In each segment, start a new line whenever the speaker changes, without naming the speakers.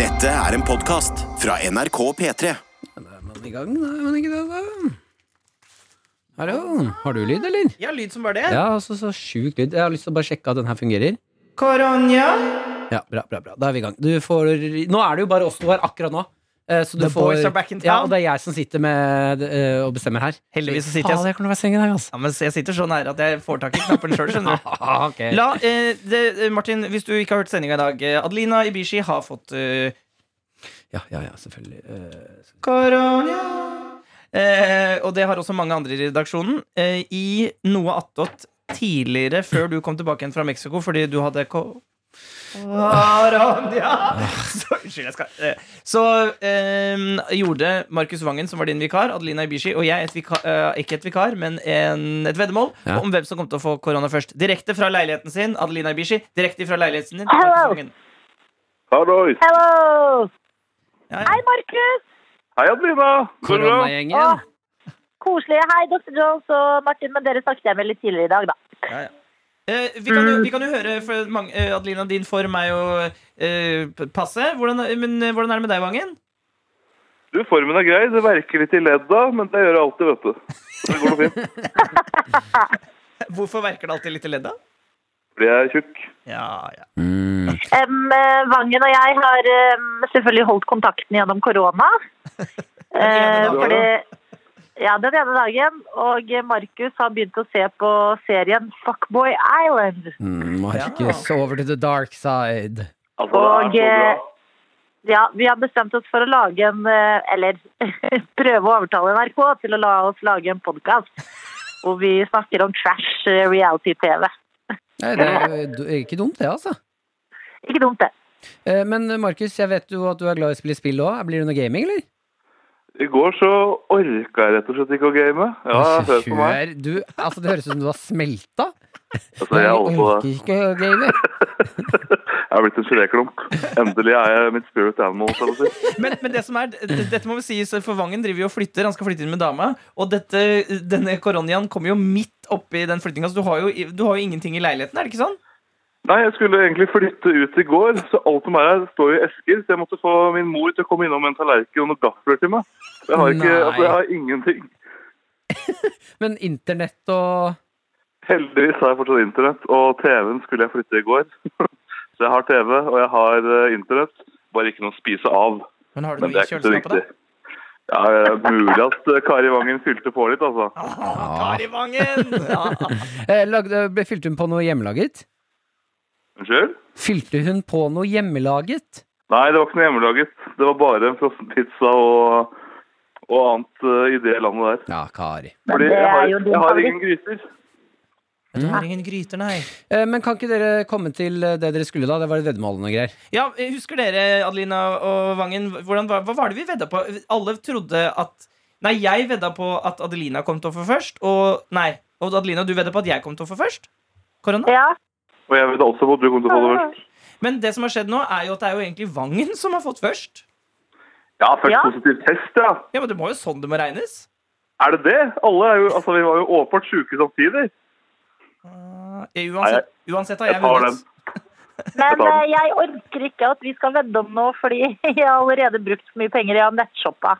Dette er en podcast fra NRK P3.
Da er man i gang, da. Er man ikke det, da? Hallo. Har du lyd, eller?
Ja, lyd som bare det.
Ja, altså, så sjukt lyd. Jeg har lyst til å bare sjekke at den her fungerer.
Koronja.
Ja, bra, bra, bra. Da er vi i gang. Du får Nå er det jo bare oss to her akkurat nå. eh, Så du
The
får
boys are back in town.
Ja, og det er jeg som sitter med eh, og bestemmer her.
Heldigvis så sitter jeg-
Faen, jeg kommer til å være streng i dag, altså.
Ja, men jeg sitter så nære at jeg får tak i knappen sjøl, skjønner du.
Ah, ok.
La, eh, det, eh, Martin, hvis du ikke har hørt sendinga i dag eh, Adelina Ibishi har fått eh,
Ja, ja, ja, selvfølgelig. Eh, skal-
Koronja. Eh, og det har også mange andre i redaksjonen. Eh, I noe attåt tidligere, før du kom tilbake igjen fra Mexico fordi du hadde ko Koronja. Så, unnskyld, jeg skal eh, Så eh, gjorde Markus Vangen, som var din vikar, Adelina Ibishi og jeg et vikar, eh, ikke et vikar, men en, et veddemål
Ja.
om hvem som kom til å få korona først. Direkte fra leiligheten sin, Adelina Ibishi. Direkte fra leiligheten din.
Hello.
Markus Vangen.
Hallois.
Hello!
Ja,
Hei, Markus!
Hei, Adelina. Går det
Åh,
bra?
Koronagjengen.
koselig. Hei, Dr. Jones og Martin, men dere snakket jeg med litt tidligere i dag, da.
Ja, ja. Eh, vi, kan jo, vi kan jo høre for mange, eh, Adelina, din for meg å eh, p- passe. Hvordan, men eh, hvordan er det med deg, Vangen?
Du, formen er grei. Det verker litt i ledda, men det gjør det alltid, vet du. Det går nok fint.
Hvorfor verker det alltid litt i ledda?
Fordi jeg er tjukk.
Ja, ja.
Mm.
Em, eh, Vangen og jeg har em, selvfølgelig holdt kontakten gjennom korona. Eh,
dagen.
fordi, ja, den ene dagen. Og eh, Markus har begynt å se på serien Fuckboy Island.
Mm, Markus, over to the dark side.
Altså,
Og,
det er
eh,
så bra.
Ja, vi har bestemt oss for å lage en eh, Eller prøve å overtale NRK til å la oss lage en podkast hvor vi snakker om trash eh, reality-TV.
Nei, det er jo du- ikke dumt, det, altså.
Ikke dumt, det.
Eh, Men Markus, jeg vet jo at du er glad i å spille spill òg. Blir det noe gaming, eller?
I går så orka jeg rett og slett ikke å game. Ja, hør på meg.
Kjør. Du, altså, det høres ut som du har smelta.
Altså, jeg holder på det.
orker ikke å game.
Jeg er blitt en geléklump. Endelig er jeg mitt spirit animal. Skal jeg si.
Men, men det som er, d- dette må vi si, så for Vangen driver jo og flytter. Han skal flytte inn med dama. Og dette, denne koronaen kommer jo midt oppi den flyttinga, så du har, jo, du har jo ingenting i leiligheten, er det ikke sånn?
Nei, jeg skulle egentlig flytte ut i går, så alt som er her, står i esker. Så jeg måtte få min mor til å komme innom med en tallerken og noen gafler til meg. Jeg har, ikke,
Nei.
altså, jeg har ingenting.
Men internett og
Heldigvis har jeg fortsatt internett, og TV-en skulle jeg flytte i går. så jeg har TV, og jeg har eh, internett, bare ikke noe å spise av.
Men har du
Men
noe
det
i
er ikke så
kjøleskapet,
viktig.
da?
Ja, eh, mulig at eh, Kari Vangen fylte på litt, altså.
Ah, Kari Vangen! Ja.
eh, lagde, ble- Fylte hun på noe hjemmelaget?
Unnskyld?
Fylte hun på noe hjemmelaget?
Nei, det var ikke noe hjemmelaget. Det var bare en frossenpizza og, og annet eh, i det landet der.
Ja, Kari.
Fordi
det
jeg
er
har,
jo din
jeg har
favoritt.
ingen gryter.
Du har ingen gryter, nei.
Eh, Men kan ikke dere komme til eh, det dere skulle, da? Det var veddemålene og greier.
Ja, Husker dere, Adelina og Vangen, hvordan, hva, hva var det vi vedda på? Alle trodde at Nei, jeg vedda på at Adelina kom til å få først. Og nei, og Adelina, du vedda på at jeg kom til å få først. Korona.
Ja.
Og jeg vet også at du kommer til å få det først.
Men det som har skjedd nå, er jo at det er jo egentlig Vangen som har fått først.
Ja, først
Ja.
positiv test, ja.
Ja, men Det må jo sånn det må regnes.
Er det det? Alle er jo, altså, vi var jo åpenbart syke samtidig.
Eh, Uansett, uansett har jeg
Jeg tar den.
vunnet.
Men eh, jeg orker ikke at vi skal vedde om noe, fordi jeg har allerede brukt så mye penger i å nettshoppa.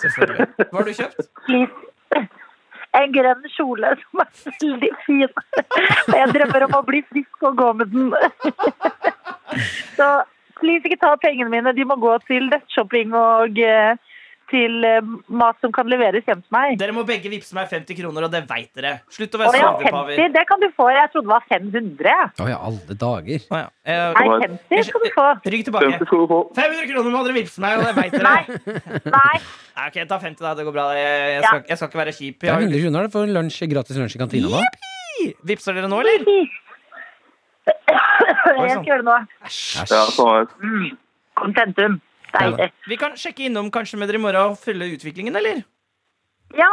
Selvfølgelig. Hva har du kjøpt?
Please. En grønn kjole som er veldig fin. Og jeg drømmer om å bli frisk og gå med den. Så please ikke ta pengene mine. De må gå til nettshopping og eh, til eh, mat som kan leveres hjem til meg.
Dere må begge vippse meg 50 kroner, og det veit dere. Slutt å
Og
være
ja,
sovepaver.
50, det kan du få. Jeg trodde det var 500.
Å ja, alle dager.
Å, ja. Eh,
Nei, 50 skal du få.
Rygg
50
tilbake.
skal du få.
500 kroner må dere vippse meg, og det veit dere.
Nei. Nei.
Nei, ok, ta 50 da, det går bra. Jeg, jeg, skal, jeg skal ikke være kjip.
Det er 100
Jeg,
kroner da, for en lunsj, gratis lunsj i kantina da.
har- Vipser dere nå, eller?
Jeg skal gjøre det nå.
Ja, sånn er det.
Contentum. Deilig.
Vi kan sjekke innom kanskje med dere i morgen og følge utviklingen, eller?
Ja,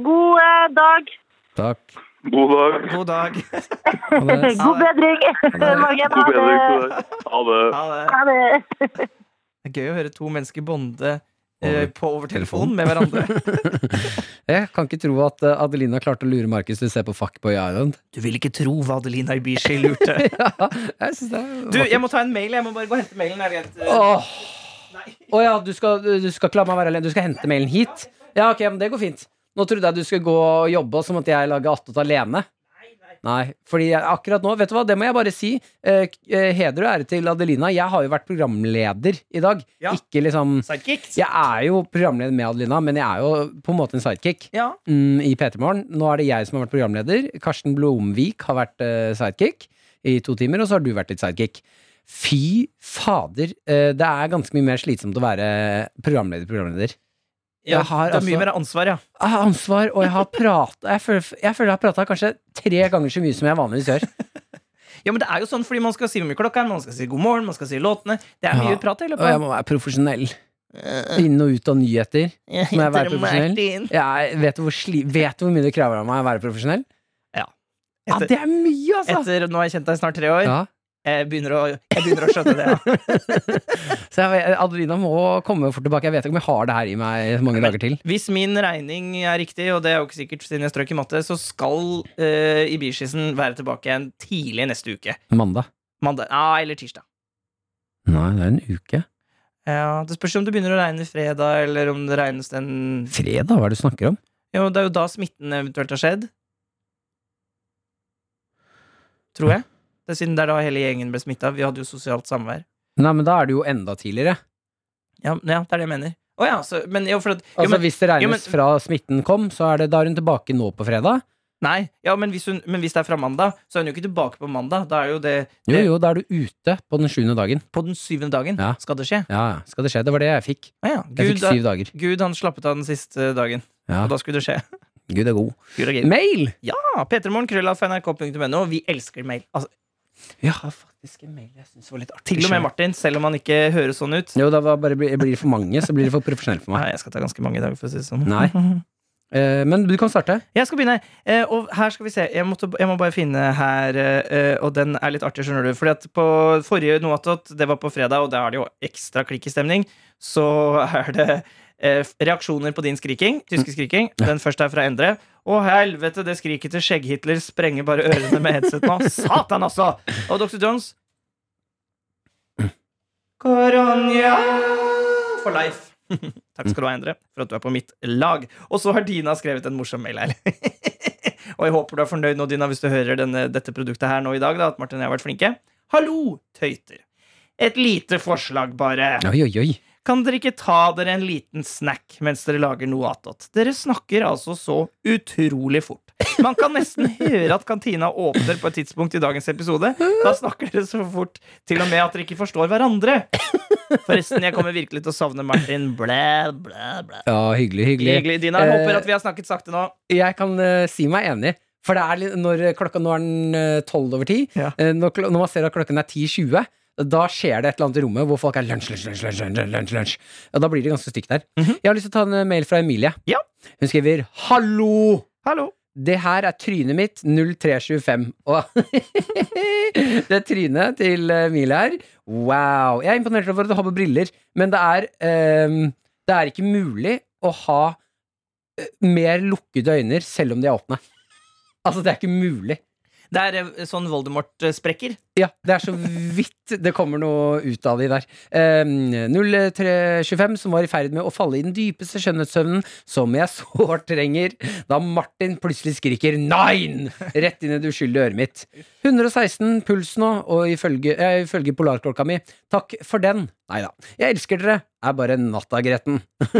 god eh, dag.
Takk.
God dag.
God dag.
Ha det.
God bedring. Mange
God bedring
ha
til
det.
deg. Ha det.
Ha det.
Ha det.
Det er gøy å høre to mennesker bonde eh, eh, på over telefon med hverandre.
Jeg kan ikke tro at eh, Adelina klarte å lure Markus til å se på Fuckboy Island.
Du vil ikke tro hva Adelina Ibishi lurte.
Ja, jeg synes det er
Du, jeg må ta en mail. Jeg må bare gå og hente mailen. Er det greit? Eh,
Åh,
Nei.
Å ja, du skal, du skal ikke la meg være alene. Du skal hente mailen hit? Ja, ok, men det går fint. Nå trodde jeg du skulle gå og jobbe, og så måtte jeg lage attåt alene. Nei, fordi jeg, akkurat nå, vet du hva, det må jeg bare si. Eh, k- eh, heder og ære til Adelina. Jeg har jo vært programleder i dag.
Ja.
Ikke liksom
Sidekick?
Jeg er jo programleder med Adelina, men jeg er jo på en måte en sidekick
Ja.
mm, i P3 Morgen. Nå er det jeg som har vært programleder. Karsten Blomvik har vært eh, sidekick i to timer, og så har du vært litt sidekick. Fy fader, eh, det er ganske mye mer slitsomt å være programleder, programleder.
ja.
Jeg har
Det er
altså-
mye mer ansvar, ja.
Jeg har ansvar, og jeg har prata Jeg føler jeg, føler jeg har prata kanskje tre ganger så mye som jeg vanligvis gjør.
Ja, men det er jo sånn fordi man skal si hvor mye klokka er, man skal si god morgen, man skal si låtene. Det er mye
Ja.
prat
Og
i
jeg
løpet av
må være profesjonell.
Eh.
Inn og ut av nyheter. Må jeg være profesjonell? Jeg vet, du hvor sli vet du hvor mye det krever av meg å være profesjonell?
Ja.
Ja,
Etter-
det er mye, altså!
Etter nå har jeg kjent deg i snart tre år,
Ja.
jeg, begynner å, jeg begynner å skjønne det.
Så
Ja.
jeg, vet- Adelina må komme fort tilbake. Jeg vet ikke om jeg har det her i meg mange dager til.
Hvis min regning er riktig, og det er jo ikke sikkert siden jeg strøk i matte, så skal eh, Ibishisen være tilbake igjen tidlig neste uke.
Mandag?
Mandag ah, eller tirsdag.
Nei, det er en uke.
Ja, Det spørs om det begynner å regne fredag, eller om det regnes den
Fredag, hva er det du snakker om?
Jo, det er jo da smitten eventuelt har skjedd. Tror jeg. Det er siden det er da hele gjengen ble smitta. Vi hadde jo sosialt samvær.
Nei, men da er det jo enda tidligere.
Ja, men ja, det er det jeg mener. Å ja, så Men jo, for at jo,
Altså
men,
Hvis det regnes
jo, men-
fra smitten kom, så er det da er hun tilbake nå på fredag.
Nei, ja, men hvis, hun, men hvis det er fra mandag, så er hun jo ikke tilbake på mandag. Da er jo det,
Jo,
det
jo, Eh, da er du ute på den sjuende dagen.
På den syvende dagen
Ja.
skal det skje.
Ja, ja, skal det skje. Det var det jeg fikk.
Å ja.
Jeg
Gud,
fikk syv dager.
Gud, han slappet av den siste dagen,
Ja,
og da skulle det skje.
Gud er god.
Gud er greit.
Mail!
Ja, p3morgen.krøllalfa.nrk.no. Vi elsker mail. Altså,
Ja, faktisk en mail jeg syns var litt artig.
til og med Martin, selv om han ikke høres sånn ut.
Jo, da var bare, blir blir det for mange, så blir det for profesjonelt for meg.
Nei, jeg skal ta ganske mange i dag, for å si det sånn.
Nei. Eh, men du kan starte.
Jeg skal begynne. Eh, og her skal vi se. Jeg, måtte, jeg må bare finne her, eh, og den er litt artig, skjønner du. Fordi at på forrige Noatot, det var på fredag, og der har det jo ekstra klikkestemning, så er det eh, reaksjoner på din skriking. Tyske skriking. Den første er fra Endre. Å, helvete, det skriket til Skjegg-Hitler sprenger bare ørene med headset nå. Satan, altså! Og Dr. Jones Koronja for life. Takk skal du ha, Endre, for at du er på mitt lag. Og så har Dina skrevet en morsom mail her. og jeg håper du er fornøyd nå, Dina, hvis du hører denne, dette produktet her nå i dag, da, at Martin og jeg har vært flinke. Hallo, tøyter. Et lite forslag, bare.
Oi, oi, oi.
Kan dere ikke ta dere en liten snack mens dere lager noe attåt? Dere snakker altså så utrolig fort. Man kan nesten høre at kantina åpner på et tidspunkt i dagens episode. Da snakker dere så fort, til og med at dere ikke forstår hverandre. Forresten, jeg kommer virkelig til å savne Martin. Blæ, blæ, blæ.
Ja, hyggelig, hyggelig.
Hyggelig, Dina. Jeg håper at vi har snakket sakte nå.
Jeg kan eh, si meg enig. For det er litt, når klokka nå er den tolv over ti,
Ja.
eh, når, klo- når man ser at klokken er 10.20 da skjer det et eller annet i rommet hvor folk er lunsj, lunsj, lunsj, lunsj, lunsj, lunsj, lunsj. Og da blir det ganske stygt der. Jeg har lyst til å ta en eh, mail fra Emilie.
Mhm. Ja.
Hun skriver 'Hallo!
Hallo.
Det her er trynet mitt 0325. Og det er trynet til Emilie her. Wow. Jeg er imponert over at du har på briller, men det er, ehm, det er ikke mulig å ha eh, mer lukkede øyne selv om de er åpne. Altså, det er ikke mulig.
Det er eh, sånn Voldemort-sprekker.
Ja, det er så vidt det kommer noe ut av de der. Ehm, 0325, som var i ferd med å falle i den dypeste skjønnhetssøvnen, som jeg sårt trenger, da Martin plutselig skriker 'nein!' rett inn i det uskyldige øret mitt. 116 puls nå, og ifølge, eh, ifølge polarklokka mi, takk for den. Nei da. Jeg elsker dere. Er bare natta gretten.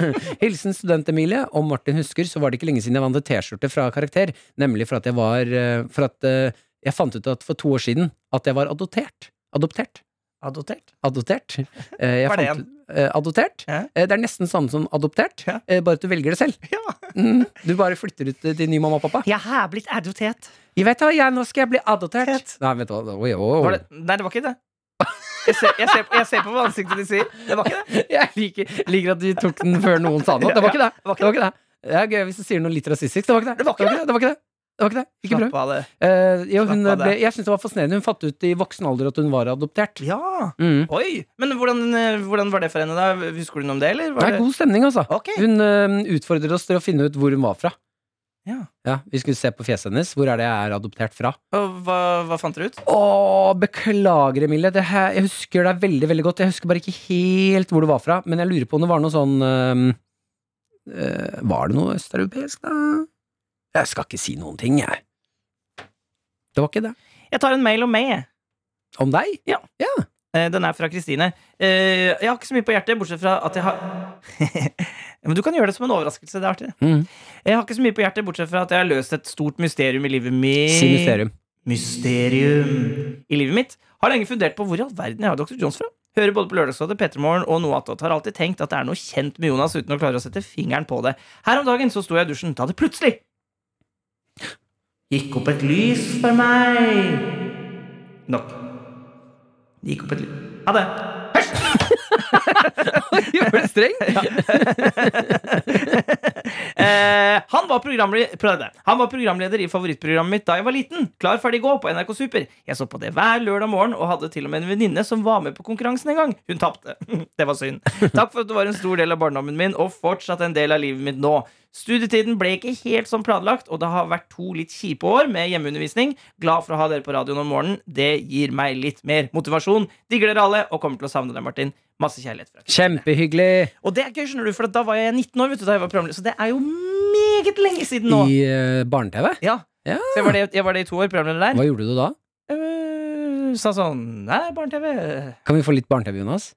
Hilsen student-Emilie. Om Martin husker, så var det ikke lenge siden jeg vant en T-skjorte fra Karakter, nemlig for at jeg var eh, For at eh, jeg fant ut at for to år siden at jeg var adoptert. Adoptert.
Adoptert.
Adoptert. Eh, jeg
Hva er det
fant ut- eh, adoptert.
Ja.
Eh, det er nesten samme som adoptert,
Ja.
eh, bare at du velger det selv.
Ja.
Mm, du bare flytter ut eh, til ny mamma og pappa.
Jeg har blitt adoptert.
Jeg vet hva, jeg, nå skal jeg bli adoptert.
Tett.
Nei, vet du hva. Oi, oi, oi.
Var det? Nei, det var ikke det. Jeg ser, jeg, ser, jeg ser på hva ansiktet ditt sier. Det var ikke det.
Jeg liker, liker at du tok den før noen sa noe. Det var ikke det.
var ikke
Det var ikke det. Det er gøy hvis du sier noe litt rasistisk. Det var ikke det. Det var ikke det. Det var ikke det. Det var ikke det. Ikke prøv.
Slapp av det.
Eh, jo, hun
Slapp av
ble,
det.
jeg synes det var fascinerende. Hun fattet ut i voksen alder at hun var adoptert.
Ja!
Mm.
Oi! Men hvordan, eh, hvordan var det for henne, da? Husker du noe om det, eller?
Det
Var
er god stemning, altså.
Ok.
Hun eh, utfordrer oss til å finne ut hvor hun var fra.
Ja.
Vi skulle se på fjeset hennes. Hvor er det jeg er adoptert fra?
Og hva, hva fant dere ut?
Å, beklager, Emilie. Det her, jeg husker deg veldig veldig godt. Jeg husker bare ikke helt hvor du var fra. Men jeg lurer på om det var noe sånn eh, eh, Var det noe østeuropeisk, da? Jeg skal ikke si noen ting, jeg. Det var ikke det.
Jeg tar en mail om meg. jeg.
Om deg?
Eh, Den er fra Kristine. Eh, Jeg har ikke så mye på hjertet, bortsett fra at jeg har Men du kan gjøre det som en overraskelse. Det er artig.
Mm.
Jeg har ikke så mye på hjertet, bortsett fra at jeg har løst et stort mysterium i livet mitt.
Si mysterium.
Mysterium i livet mitt. Har lenge fundert på hvor i all verden jeg har Dr. Jones fra. Hører både på Lørdagsrådet, Petermorgen og noe attåt. Har alltid tenkt at det er noe kjent med Jonas uten å klare å sette fingeren på det. Her om dagen så sto jeg i dusjen da det plutselig gikk opp et lys for meg. Nok. Det gikk opp et lys. Ha det.
Gjør det streng?
Eh, han, var programle- prøv det. han var programleder i favorittprogrammet mitt da jeg var liten. Klar, ferdig, gå på NRK Super. Jeg så på det hver lørdag morgen og hadde til og med en venninne som var med på konkurransen en gang. Hun tapte. Det var synd. Takk for at du var en stor del av barndommen min, og fortsatt en del av livet mitt nå. Studietiden ble ikke helt som planlagt, og det har vært to litt kjipe år med hjemmeundervisning. Glad for å ha dere på radioen om morgenen. Det gir meg litt mer motivasjon. Digger dere alle, og kommer til å savne deg, Martin. Masse kjærlighet fra
Kjempehyggelig.
og det er gøy, skjønner du, for da var jeg 19 år, vet du, da jeg var programleder. Så det er jo meget lenge siden nå.
I eh, barne-TV?
Ja.
Ja.
Så jeg var, det, jeg var det i to år, programleder der.
Hva gjorde du da?
Øh, sa sånn Nei, barne-TV.
Kan vi få litt barne-TV, Jonas?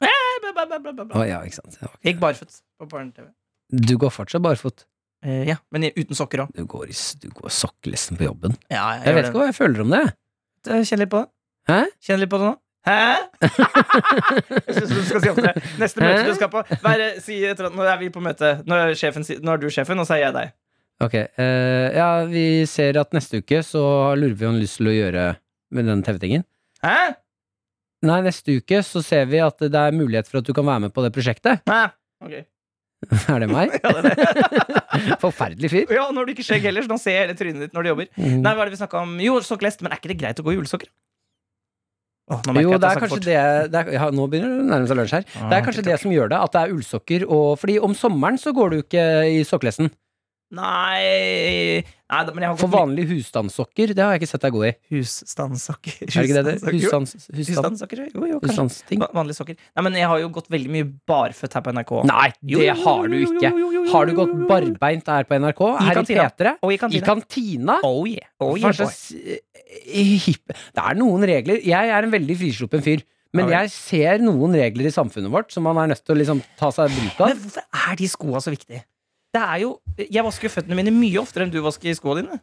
Bla, bla, bla, bla, bla, bla.
Å, ja, ikke sant. Ja.
Jeg Gikk barføtt på barne-TV.
Du går fortsatt barfot.
Eh, ja, men jeg- uten sokker òg.
Du går i s- du går sokkelesten på jobben.
Ja,
Jeg vet ikke hva jeg føler om det.
Kjenn litt på det.
Hæ?
Kjenn litt på det nå. Hæ? Jeg synes du skal si opp det. Neste møte du skal på Vær, si, et eller annet- Nå er vi på møte. Nå er, sjefen, si- nå er du sjefen, og så er jeg deg.
Ok, eh, ja, vi ser at neste uke så lurer vi om lyst til å gjøre med den TV-tingen.
Hæ?
Nei, neste uke så ser vi at det er mulighet for at du kan være med på det prosjektet.
Hæ? Ok.
Er det meg?
Ja, det er det.
Forferdelig fyr.
Ja, når du ikke skjegg heller, så nå ser jeg hele trynet ditt når du jobber.
Mm.
Nei, hva er det vi snakket om? Jo, sokkelest, men er ikke det greit å gå i julesokker? Åh, nå merker
Jo,
jeg at
det
jeg
er
snakker
kanskje
fort.
det, det er, ja, Nå begynner det å nærme seg lunsj her. Det er
Ah,
kanskje det som gjør det, at det er ullsokker og Fordi om sommeren så går du ikke i sokkelesten.
Nei, nei da, men jeg har
For vanlige husstandssokker, det har jeg ikke sett deg gå i.
Husstandsokker.
Er det ikke det det?
Husstandsokker. Jo,
Husstands, husstand,
Husstandsokker, jo, jo, kanskje.
husstandsting?
Va- Vanlige sokker. Nei, men jeg har jo gått veldig mye barføtt her på NRK.
Nei,
Jo,
det
jo,
har du
jo, jo,
ikke.
jo, jo, jo, jo,
Har du
jo,
gått
jo, Oh, jo.
barbbeint her på NRK?
I
Her i
kantina.
P3?
Og i
I
kantina.
kantina?
Oh yeah. Oh
Hva
yeah, boy.
slags eh, hipp- Det er noen regler. Jeg er en veldig frisluppen fyr. Men
Ja
jeg ser noen regler i samfunnet vårt som man er nødt til å liksom ta seg bruk
Men
av.
hvorfor er de skoene så viktige? Det er jo, jeg vasker jo føttene mine mye oftere enn du vasker skoene dine.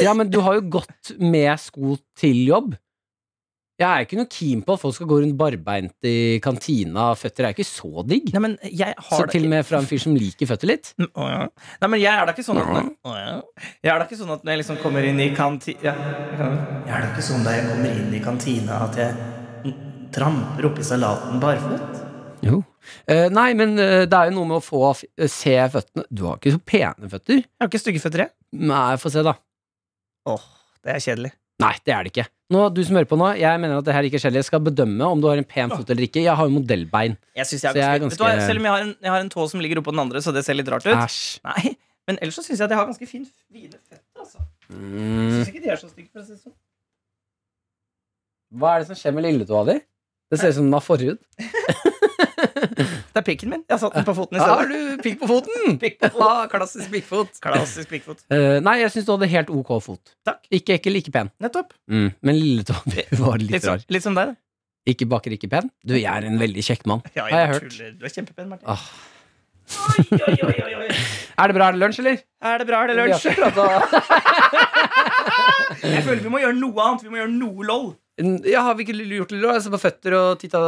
Ja, men du har jo gått med sko til jobb. Jeg er ikke noe keen på at folk skal gå rundt barbeint i kantina. Føtter er ikke så digg.
Nei, men jeg har
Så
da
til
ikke-
og med fra en fyr som liker føtter litt.
Mm, å ja. Nei, men jeg er da ikke sånn at når, å ja. Jeg er da ikke sånn at når jeg liksom kommer inn i kantina ja. jeg kan- Jeg er da ikke sånn da jeg kommer inn i kantina at jeg mm, tramper oppi salaten barføtt.
Jo. Eh, nei, men eh, det er jo noe med å få f- eh, se føttene Du har ikke så pene føtter.
Jeg har ikke stygge føtter, jeg.
Nei, få se, da.
Åh, det er kjedelig.
Nei, det er det ikke. Nå, du som hører på nå, jeg mener at det her ikke er skjellig. Jeg skal bedømme om du har en pen fot eller ikke. Jeg har jo modellbein.
Jeg synes jeg
Så jeg er
er ganske, Vet du hva,
ganske-
Selv om jeg har, en, jeg har en tå som ligger oppå den andre, så det ser litt rart ut.
Æsj.
Nei, Men ellers så syns jeg at jeg har ganske fin, fine føtter. Altså. Jeg
Mm.
synes ikke de er så stygge. for å si det sånn.
Hva er det som skjer med lilletåa di? Det ser ut som den har forhud.
Det er pikken min. Jeg Ah, har satt den på foten i
Ja, har du
stedet.
pikk på foten?
Pikk på foten.
Ja, klassisk pikkfot.
Klassisk pikkfot.
Eh, nei, jeg syns du hadde helt ok fot.
Takk.
Ikke ekkel, ikke pen.
Nettopp.
Mm. Men lilletåa di var litt,
Litt,
rar.
som- litt som deg, da.
Ikke baker, ikke pen. Du, jeg er en veldig kjekk mann.
Ja,
Har jeg hørt.
tuller. Du er kjempepen, Martin.
Ah.
Oi, oi, oi, oi, oi.
Er det bra? Er det lunsj, eller?
Er det bra? Er det
Vi har
lunsj?
ikke pratet-
Jeg føler vi må gjøre noe annet. Vi må gjøre noe lol.
Ja, har vi ikke gjort det? da? Altså på føtter og titta,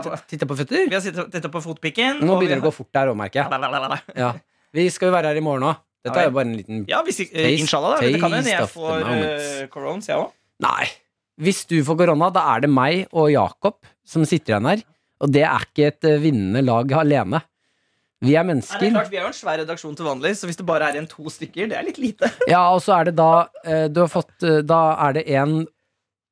titta,
på.
titta, på føtter?
Vi har sittet dette på fotpikken.
Nå
og vi
begynner det å gå fort der òg, merker jeg.
har-
Ja. Vi skal jo være her i morgen òg. Dette er jo bare en liten
Ja, hvis ikke,
Taste-
inshallah, da. Men det kan hende jeg
taste of
får
the moment.
uh, corones, jeg òg.
Nei. Hvis du får korona, da er det meg og Jakob som sitter igjen her. Og det er ikke et eh, vinnende lag alene. Vi er
Nei, det er
mennesker.
klart, Vi er jo en svær redaksjon til vanlig, så hvis det bare er igjen to stykker, det er litt lite.
Ja, og så er det da eh, Du har fått eh, Da er det en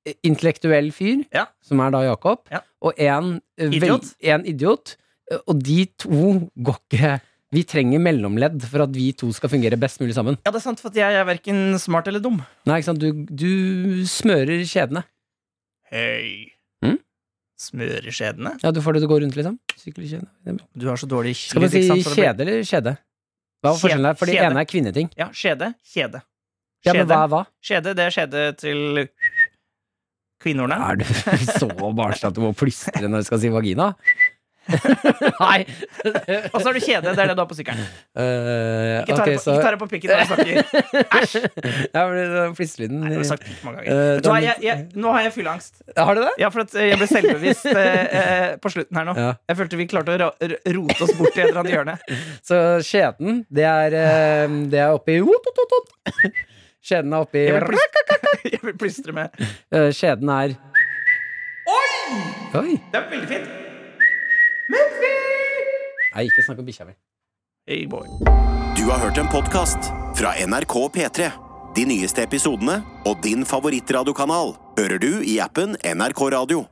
eh, intellektuell fyr,
Ja.
som er da Jakob,
Ja.
og en eh, vel-
Idiot.
en idiot. eh, Og de to går ikke Vi trenger mellomledd for at vi to skal fungere best mulig sammen.
Ja, det er sant, for at jeg er verken smart eller dum.
Nei, ikke sant? Du, du smører kjedene.
Hei.
Mm?
Smører skjedene?
Ja, du får det til å gå rundt, liksom. Sykkelkjede.
Du har så dårlig
Skal man
lyd,
si
ikke sant, så det blir-
kjede eller kjede? Hva var
Kje-
forskjellen der? For det
kjede.
ene er kvinneting.
Ja, skjede. Kjede.
Ja, men
Skjede.
hva er hva?
skjede, det er skjede til kvinneordene.
Er du så barnslig at du må plystre når du skal si vagina? Nei.
Og så har du kjede, det er det du har på sykkelen.
Eh,
Ikke ta
ok,
det på,
så-
ikke ta det på pikken når du snakker.
Ja, for det- det- fliselyden
Nei, det har du sagt pikk mange ganger.
Eh,
Vet du hva,
den-
jeg, jeg, nå har jeg fylleangst.
Har du det?
Ja, for at eh, jeg ble selvbevisst eh, eh, på slutten her nå.
Ja.
Jeg følte vi klarte å ra r- rote oss bort i et eller annet hjørne.
Så skjeden, det er, eh, det er oppi Skjeden er oppi
Jeg vil plystre, jeg vil plystre med
Eh, Skjeden er Oi! Oi.
Det er veldig fint.
Nei, ikke snakk om bikkja mi.
Hey boy.
Du har hørt en podcast fra NRK P3. De nyeste episodene og din favorittradiokanal hører du i appen NRK Radio.